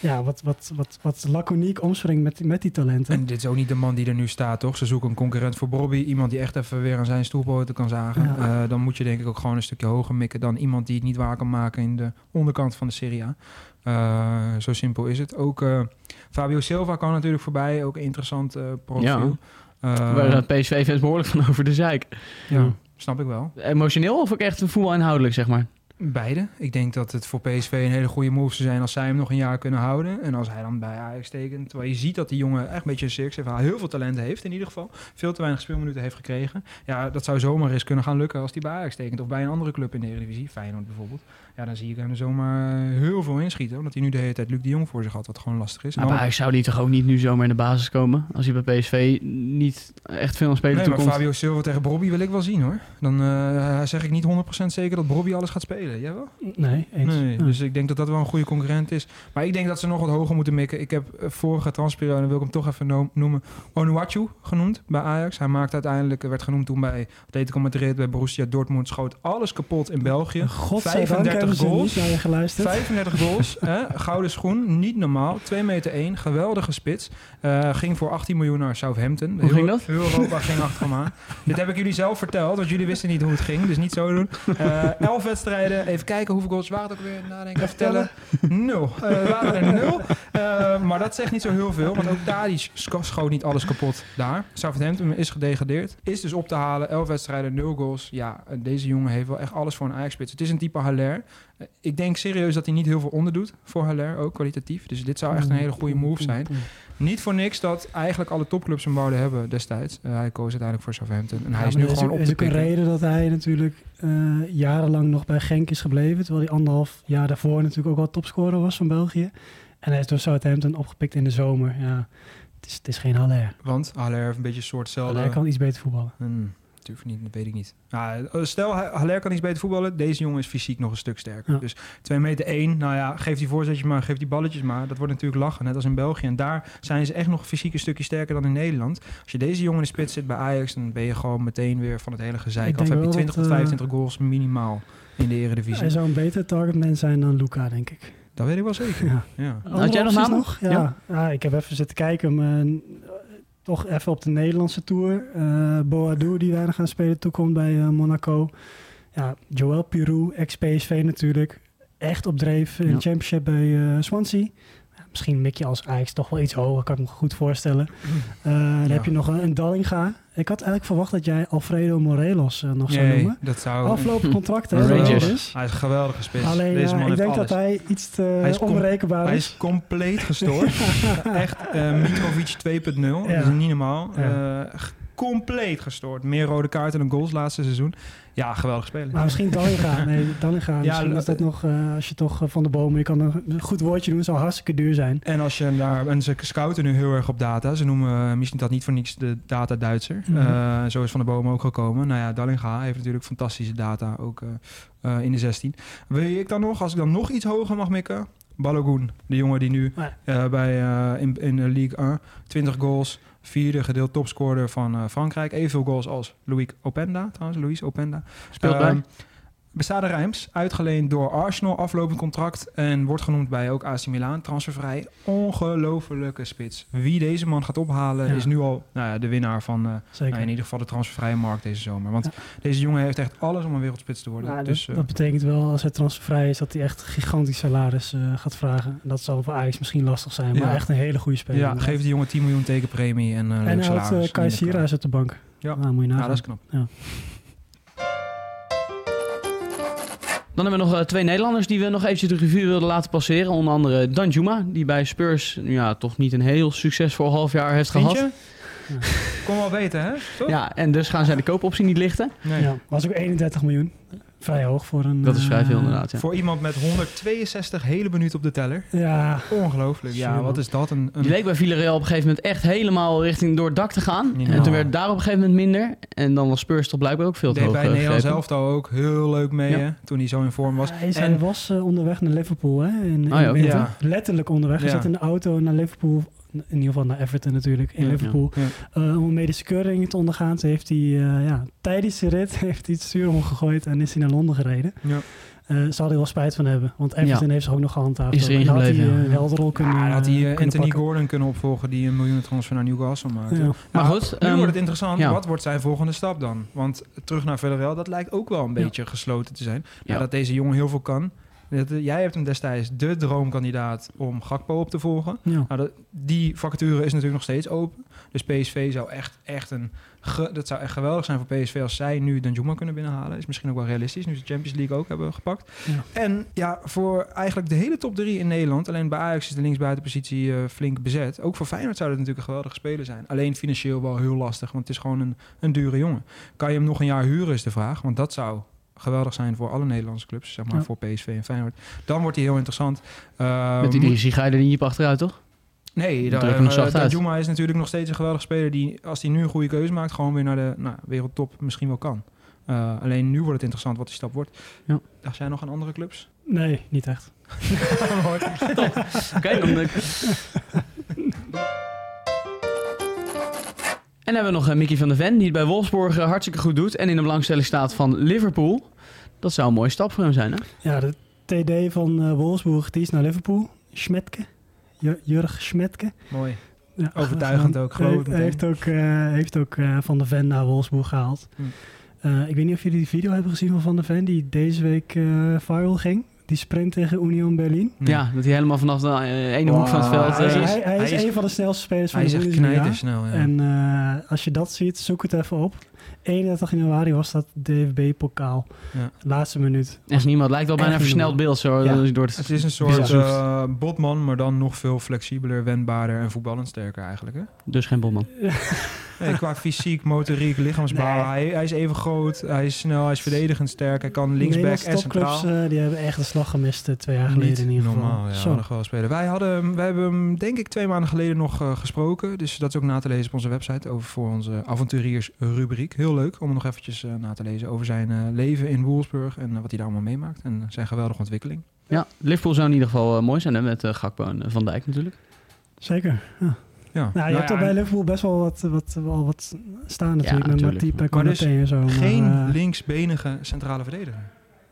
Speaker 5: ja, wat, wat, wat, wat laconiek omspringt met, die- met die talenten.
Speaker 6: En dit is ook niet de man die er nu staat, toch? Ze zoeken een concurrent voor Bobby. Iemand die echt even weer aan zijn stoelpoten kan zagen.
Speaker 5: Ja.
Speaker 6: Eh, dan moet je denk ik ook gewoon een stukje hoger mikken... dan iemand die het niet waar kan maken in de onderkant van de Serie A. Eh, zo simpel is het. Ook eh, Fabio Silva kan natuurlijk voorbij. Ook een interessant eh, profiel. Eh,
Speaker 1: Waar eh, PSV-fans behoorlijk van over de zeik.
Speaker 6: ja, snap ik wel.
Speaker 1: Emotioneel of ook echt voetbal-inhoudelijk, zeg maar?
Speaker 6: Beide. Ik denk dat het voor PSV een hele goede move zou zijn als zij hem nog een jaar kunnen houden. En als hij dan bij Ajax tekent. Terwijl je ziet dat die jongen echt een beetje een circus heeft. Hij heel veel talent heeft in ieder geval. Veel te weinig speelminuten heeft gekregen. Ja, dat zou zomaar eens kunnen gaan lukken als hij bij Ajax tekent. Of bij een andere club in de Eredivisie, Feyenoord bijvoorbeeld. Ja, dan zie ik hem er zomaar heel veel inschieten. Omdat hij nu de hele tijd Luc de Jong voor zich had, wat gewoon lastig is.
Speaker 1: Maar bij Ajax zou die toch ook niet nu zomaar in de basis komen? Als hij bij PSV niet echt veel aan spelen
Speaker 6: Nee, maar
Speaker 1: toekomt.
Speaker 6: Fabio Silva tegen Bobby wil ik wel zien hoor. Dan eh, zeg ik niet 100% zeker dat Bobby alles gaat spelen. Jij wel?
Speaker 5: Nee, eens.
Speaker 6: Nee,
Speaker 5: Ja.
Speaker 6: dus ik denk dat dat wel een goede concurrent is. Maar ik denk dat ze nog wat hoger moeten mikken. Ik heb eh, vorige transperiode, wil ik hem toch even no- noemen, Onuachu genoemd bij Ajax. Hij maakte uiteindelijk, werd genoemd toen bij Atletico Madrid, bij Borussia Dortmund, schoot alles kapot in België.
Speaker 5: Godzijdank hebben ze
Speaker 6: goals.
Speaker 5: niet naar je geluisterd.
Speaker 6: 35 goals, hè? gouden schoen, niet normaal. 2 meter 1, geweldige spits. Eh, ging voor 18 miljoen naar Southampton.
Speaker 1: Hoe ging dat?
Speaker 6: Heel Europa ging achter hem aan. Dit heb ik jullie zelf verteld, want jullie wisten niet hoe het ging, dus niet zo doen. Eh 11 wedstrijden, wedstrijden. Even kijken hoeveel goals waren het ook weer. Nadenken, vertellen. Nul. Eh waren er nul. Eh, maar dat zegt niet zo heel veel. Want ook Tadic scho- schoot niet alles kapot daar. Southampton is gedegradeerd. Is dus op te halen. Elf wedstrijden, nul goals. Ja, eh, deze jongen heeft wel echt alles voor een Ajax-spits. Het is een type Haller. Eh, ik denk serieus dat hij niet heel veel onderdoet voor Haller. Ook kwalitatief. Dus dit zou echt een hele goede move zijn. Niet voor niks dat eigenlijk alle topclubs hem wouden hebben destijds. Eh, hij koos uiteindelijk voor Southampton. En Nou, hij is nu gewoon op
Speaker 5: is
Speaker 6: te
Speaker 5: ook een
Speaker 6: pikken.
Speaker 5: reden dat hij natuurlijk eh, jarenlang nog bij Genk is gebleven. Terwijl hij anderhalf jaar daarvoor natuurlijk ook al topscorer was van België. En hij is door Southampton opgepikt in de zomer. Ja, het is, het is geen Haller.
Speaker 6: Want Haller heeft een beetje een soort
Speaker 5: Haller
Speaker 6: zelden.
Speaker 5: kan iets beter voetballen.
Speaker 6: Hmm, het hoeft niet, dat weet ik niet. Nou, eh, stel, Ha- Haller kan iets beter voetballen. Deze jongen is fysiek nog een stuk sterker.
Speaker 5: Ja.
Speaker 6: Dus 2 meter 1, nou ja, geef die voorzetjes maar, geef die balletjes maar. Dat wordt natuurlijk lachen, net als in België. En daar zijn ze echt nog fysiek een stukje sterker dan in Nederland. Als je deze jongen in de spits zit bij Ajax, dan ben je gewoon meteen weer van het hele
Speaker 5: Ik
Speaker 6: gezeik af.
Speaker 5: denk
Speaker 6: Heb je
Speaker 5: wel
Speaker 6: 20
Speaker 5: dat,
Speaker 6: tot
Speaker 5: eh,
Speaker 6: 25 goals minimaal in de
Speaker 5: Hij
Speaker 6: Eredivisie.
Speaker 5: zou een beter targetman zijn dan Luca, denk ik.
Speaker 6: Dat weet ik wel zeker.
Speaker 5: Ja.
Speaker 6: Ja.
Speaker 1: Had jij nog
Speaker 5: Andere opties
Speaker 1: namen?
Speaker 5: Ja.
Speaker 1: Ja.
Speaker 5: Ja. ik heb even zitten kijken. Maar, eh, toch even op de Nederlandse tour. Eh Boadu, die weinig gaan spelen, toekomt bij eh, Monaco. Ja, Joël Pirou, ex-PSV natuurlijk. Echt op dreef in
Speaker 1: Ja.
Speaker 5: de championship bij eh, Swansea. Ja, Misschien mik je als Ajax toch wel iets hoger, kan ik me goed voorstellen.
Speaker 1: Mm.
Speaker 5: Eh, dan
Speaker 6: Ja.
Speaker 5: heb je nog een, een Dallinga. Ik had eigenlijk verwacht dat jij Alfredo Morelos eh, nog zou
Speaker 6: Nee,
Speaker 5: noemen.
Speaker 6: dat zou...
Speaker 5: Afgelopen contract, hè?
Speaker 1: Rangers.
Speaker 5: dat is.
Speaker 6: Hij is een geweldige spits.
Speaker 5: Alleen,
Speaker 6: Deze
Speaker 5: ja,
Speaker 6: man
Speaker 5: ik
Speaker 6: heeft
Speaker 5: denk
Speaker 6: alles.
Speaker 5: dat hij iets te
Speaker 6: is com-
Speaker 5: onberekenbaar
Speaker 6: Hij
Speaker 5: is.
Speaker 6: is compleet gestoord. Echt eh Mitrovic 2.0.
Speaker 5: Ja.
Speaker 6: Dat is niet normaal.
Speaker 5: Ja.
Speaker 6: Eh, g- compleet gestoord. Meer rode kaarten dan goals laatste seizoen. Ja, geweldig spelen.
Speaker 5: Maar misschien Dallinga. Nee, Dallinga.
Speaker 6: Ja,
Speaker 5: misschien is dat nog, eh, als je toch eh, van de bomen, je kan een goed woordje doen, zou hartstikke duur zijn.
Speaker 6: En als je daar, en ze scouten nu heel erg op data. Ze noemen eh, misschien dat niet voor niks de data Duitser.
Speaker 5: Mhm.
Speaker 6: Eh, zo is Van der Bomen ook gekomen. Nou ja, Dallinga heeft natuurlijk fantastische data ook eh, eh, in de 16. Wil ik dan nog, als ik dan nog iets hoger mag mikken? Balogun, de jongen die nu
Speaker 5: Ja.
Speaker 6: eh, bij, eh, in, in de League 1 20 goals, vierde gedeeld topscorer van eh, Frankrijk. Evenveel goals als Louis Openda, trouwens, Louis Openda.
Speaker 1: Speelt bij.
Speaker 6: Ehm, Besade Rijms, uitgeleend door Arsenal, aflopend contract en wordt genoemd bij ook AC Milan, transfervrij. Ongelofelijke spits. Wie deze man gaat ophalen
Speaker 5: Ja.
Speaker 6: is nu al nou ja, de winnaar van eh,
Speaker 5: Zeker.
Speaker 6: nou, in ieder geval de transfervrije markt deze zomer. Want deze jongen heeft echt alles om een wereldspits te worden.
Speaker 5: Maar dat,
Speaker 6: dus eh,
Speaker 5: dat betekent wel, als hij transfervrij is, dat hij echt gigantisch salaris eh, gaat vragen. Dat zal voor Ajax misschien lastig zijn, maar
Speaker 6: Ja.
Speaker 5: echt een hele goede speler.
Speaker 6: ja,
Speaker 5: inderdaad.
Speaker 6: geef die jongen 10 miljoen tekenpremie en eh leuk
Speaker 5: en hij houdt
Speaker 6: salaris.
Speaker 5: eh Kai Sierhuis uit de bank.
Speaker 6: Ja.
Speaker 5: Nou, moet je
Speaker 6: Ja,
Speaker 5: nagaan.
Speaker 6: dat is knap.
Speaker 1: Dan hebben we nog eh, twee Nederlanders die we nog eventjes de revue wilden laten passeren. Onder andere Danjuma, die bij Spurs nu ja, toch niet een heel succesvol half jaar heeft
Speaker 6: Vind
Speaker 1: gehad.
Speaker 6: je? Kom wel weten, hè? Toch?
Speaker 1: Ja, en dus gaan zij de koopoptie niet lichten.
Speaker 6: Nee.
Speaker 5: ja, was ook 31 miljoen. Vrij hoog voor een...
Speaker 1: Dat is vrij veel
Speaker 5: eh,
Speaker 1: inderdaad, ja.
Speaker 6: Voor iemand met 162 hele minuten op de teller.
Speaker 5: Ja,
Speaker 6: Ongelooflijk. Ja,
Speaker 5: Zo.
Speaker 6: wat is dat? Een,
Speaker 1: Die
Speaker 6: een
Speaker 1: leek bij Villarreal op een gegeven moment echt helemaal richting door het dak te gaan.
Speaker 6: Ja.
Speaker 1: En toen werd daar op een gegeven moment minder. En dan was Spurs toch blijkbaar ook veel te
Speaker 6: Deed
Speaker 1: hoog.
Speaker 6: bij
Speaker 1: eh,
Speaker 6: Nederland
Speaker 1: gegrepen.
Speaker 6: zelf ook heel leuk mee,
Speaker 1: Ja.
Speaker 6: hè, toen hij zo in vorm was.
Speaker 5: hij, is- hij
Speaker 6: en
Speaker 5: was eh, onderweg naar Liverpool, hè? In, in
Speaker 1: Ah, ja,
Speaker 5: de winter.
Speaker 6: ja.
Speaker 5: Letterlijk onderweg. Hij
Speaker 6: Ja.
Speaker 5: zat in de auto naar Liverpool. In ieder geval naar Everton natuurlijk, in
Speaker 6: Ja,
Speaker 5: Liverpool.
Speaker 6: ja,
Speaker 5: Eh, om een medische keuring te ondergaan. Ze heeft hij eh, ja, tijdens de rit heeft hij het stuur omgegooid en is hij naar Londen gereden.
Speaker 6: ja.
Speaker 5: Eh zal hij wel spijt van hebben, want Everton heeft zich ook nog gehandhaafd.
Speaker 1: Is erin
Speaker 5: En
Speaker 1: gebleven,
Speaker 5: Had hij
Speaker 1: ja.
Speaker 5: eh, Helderol kunnen
Speaker 6: Ja, had hij eh,
Speaker 5: eh, kunnen
Speaker 6: Anthony
Speaker 5: pakken.
Speaker 6: Gordon kunnen opvolgen die een miljoen transfer naar Newcastle maakte.
Speaker 5: Ja.
Speaker 1: Maar
Speaker 6: Nou,
Speaker 1: goed,
Speaker 6: nu
Speaker 1: ehm,
Speaker 6: wordt het interessant.
Speaker 1: ja.
Speaker 6: Wat wordt zijn volgende stap dan? Want terug naar Villarreal, dat lijkt ook wel een beetje gesloten te zijn.
Speaker 1: Ja.
Speaker 6: Maar dat deze jongen heel veel kan. Dat, eh, jij hebt hem destijds de droomkandidaat om Gakpo op te volgen.
Speaker 5: Ja.
Speaker 6: Nou, dat, die vacature is natuurlijk nog steeds open. Dus PSV zou echt, echt een... ge- dat zou echt geweldig zijn voor PSV als zij nu Danjuma kunnen binnenhalen. Is misschien ook wel realistisch, nu ze de Champions League ook hebben gepakt.
Speaker 5: Ja.
Speaker 6: En ja, voor eigenlijk de hele top 3 in Nederland... alleen bij Ajax is de linksbuitenpositie eh, flink bezet. Ook voor Feyenoord zou dat natuurlijk een geweldige speler zijn. Alleen financieel wel heel lastig, want het is gewoon een, een dure jongen. Kan je hem nog een jaar huren is de vraag, want dat zou... Geweldig zijn voor alle Nederlandse clubs, zeg maar
Speaker 5: Ja.
Speaker 6: voor PSV en Feyenoord. Dan wordt hij heel interessant. Eh,
Speaker 1: Met die
Speaker 6: moet-
Speaker 1: drie ga je er niet achteruit, toch?
Speaker 6: Nee,
Speaker 1: Dan
Speaker 6: dat,
Speaker 1: drukken we hem zacht uit.
Speaker 6: Juma is natuurlijk nog steeds een geweldige speler die, als hij nu een goede keuze maakt, gewoon weer naar de nou, wereldtop misschien wel kan. Eh, alleen nu wordt het interessant wat die stap wordt.
Speaker 1: Ja.
Speaker 6: Dacht jij nog aan andere clubs?
Speaker 5: Nee, niet echt.
Speaker 6: Mooi.
Speaker 1: Oké, dan. eh, En dan hebben we nog eh, Mickey van der Ven, die het bij Wolfsburg eh, hartstikke goed doet. En in de belangstelling staat van Liverpool. Dat zou een mooie stap voor hem zijn, hè?
Speaker 5: Ja, de TD van eh, Wolfsburg, die is naar Liverpool. Schmetke. Jur- Jurg Schmetke.
Speaker 6: Mooi.
Speaker 5: Ja,
Speaker 6: Overtuigend ook, geloof ik
Speaker 5: Hij heeft ook, eh, heeft ook eh, Van de Ven naar Wolfsburg gehaald.
Speaker 6: Hm.
Speaker 5: Eh, Eh, ik weet niet of jullie die video hebben gezien van Van der Ven die deze week eh, viral ging. Die sprint tegen Union Berlin.
Speaker 1: Ja, dat hij helemaal vanaf de eh, ene hoek van het
Speaker 6: Wow.
Speaker 1: veld...
Speaker 5: hij,
Speaker 1: eh,
Speaker 5: is,
Speaker 6: is-
Speaker 5: hij, hij is
Speaker 6: hij is-
Speaker 5: een van de snelste spelers van
Speaker 6: Hij is
Speaker 5: de
Speaker 6: echt
Speaker 5: Bundesliga.
Speaker 6: knijtersnel. Ja.
Speaker 5: En eh, als je dat ziet, zoek het even op. 31 januari was dat DFB-pokaal.
Speaker 6: Ja.
Speaker 5: Laatste minuut.
Speaker 1: Echt niemand. Lijkt wel bijna
Speaker 5: Echt niet
Speaker 1: versneld beeld zo. dus
Speaker 5: Ja.
Speaker 1: Door het,
Speaker 6: het is een soort eh, botman, maar dan nog veel flexibeler, wendbaarder en voetballend sterker eigenlijk. Hè?
Speaker 1: Dus geen bomman.
Speaker 6: Nee, qua fysiek, motoriek, lichaamsbouw. Hij, hij is even groot, hij is snel, hij is verdedigend sterk. Hij kan linksback
Speaker 5: Nederlandse
Speaker 6: en centraal.
Speaker 5: topclubs eh, die hebben echt de slag gemist eh, twee jaar geleden
Speaker 6: Niet
Speaker 5: in ieder geval.
Speaker 6: normaal, ja.
Speaker 5: Zo.
Speaker 6: Wat een geweldige speler. Wij, hadden, hem- wij hebben hem denk ik twee maanden geleden nog eh, gesproken. Dus dat is ook na te lezen op onze website over voor onze avonturiersrubriek. Heel leuk om nog eventjes eh, na te lezen over zijn eh, leven in Wolfsburg en eh, wat hij daar allemaal meemaakt. En eh, zijn geweldige ontwikkeling.
Speaker 1: Ja, Liverpool zou in ieder geval eh, mooi zijn. Hè, met eh, Gakpo en eh, Van Dijk natuurlijk.
Speaker 5: Zeker. Ja.
Speaker 6: Ja.
Speaker 5: Nou, je hebt
Speaker 6: ja,
Speaker 5: al bij Liverpool best wel wat, wat, wel wat staan natuurlijk. met
Speaker 1: natuurlijk.
Speaker 5: Matip en
Speaker 6: Maar dus
Speaker 5: Konaté en zo. maar,
Speaker 6: Geen
Speaker 5: eh,
Speaker 6: linksbenige centrale verdediger.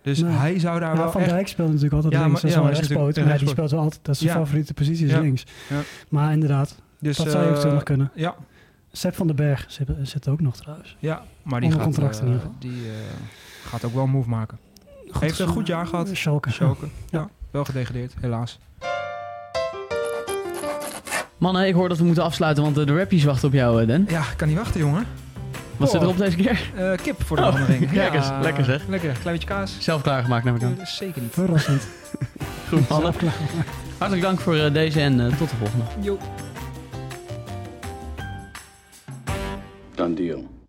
Speaker 6: Dus
Speaker 5: Nee.
Speaker 6: hij zou daar
Speaker 5: nou,
Speaker 6: wel
Speaker 5: Van
Speaker 6: echt...
Speaker 5: Dijk speelt natuurlijk altijd
Speaker 6: Ja,
Speaker 5: links.
Speaker 6: maar-
Speaker 5: dat is
Speaker 6: ja,
Speaker 5: wel
Speaker 6: maar
Speaker 5: een
Speaker 6: hij is
Speaker 5: rechtspoot.
Speaker 6: natuurlijk
Speaker 5: Maar die
Speaker 6: een
Speaker 5: speelt wel altijd. Dat is zijn
Speaker 6: Ja.
Speaker 5: favoriete positie, is
Speaker 6: Ja.
Speaker 5: links.
Speaker 6: Ja.
Speaker 5: Maar inderdaad,
Speaker 6: Dus,
Speaker 5: dat zou
Speaker 6: eh,
Speaker 5: eventueel nog kunnen.
Speaker 6: Ja,
Speaker 5: Sepp van den Berg zit, zit ook nog trouwens.
Speaker 6: ja, maar die,
Speaker 5: Onder
Speaker 6: gaat,
Speaker 5: contract in
Speaker 6: eh,
Speaker 5: ieder geval.
Speaker 6: die eh, gaat ook wel een move maken. Heeft een goed jaar gehad.
Speaker 5: Schalke.
Speaker 6: Schalke. Ja.
Speaker 5: Ja.
Speaker 6: wel gedegradeerd, helaas.
Speaker 1: Mannen, ik hoor dat we moeten afsluiten, want eh, de rappies wachten op jou, eh, Den.
Speaker 6: Ja, ik kan niet wachten, jongen.
Speaker 1: Wat zit
Speaker 6: Oh.
Speaker 1: erop deze keer?
Speaker 6: Eh, kip voor de verandering.
Speaker 1: Oh. kijk eens, lekker zeg.
Speaker 6: Lekker, klein beetje kaas.
Speaker 1: Zelf klaargemaakt, neem ik aan.
Speaker 6: Eh, Zeker niet.
Speaker 5: Verrassend.
Speaker 1: Goed, mannen. Hartelijk dank voor eh, deze en eh, tot de volgende.
Speaker 2: Done deal.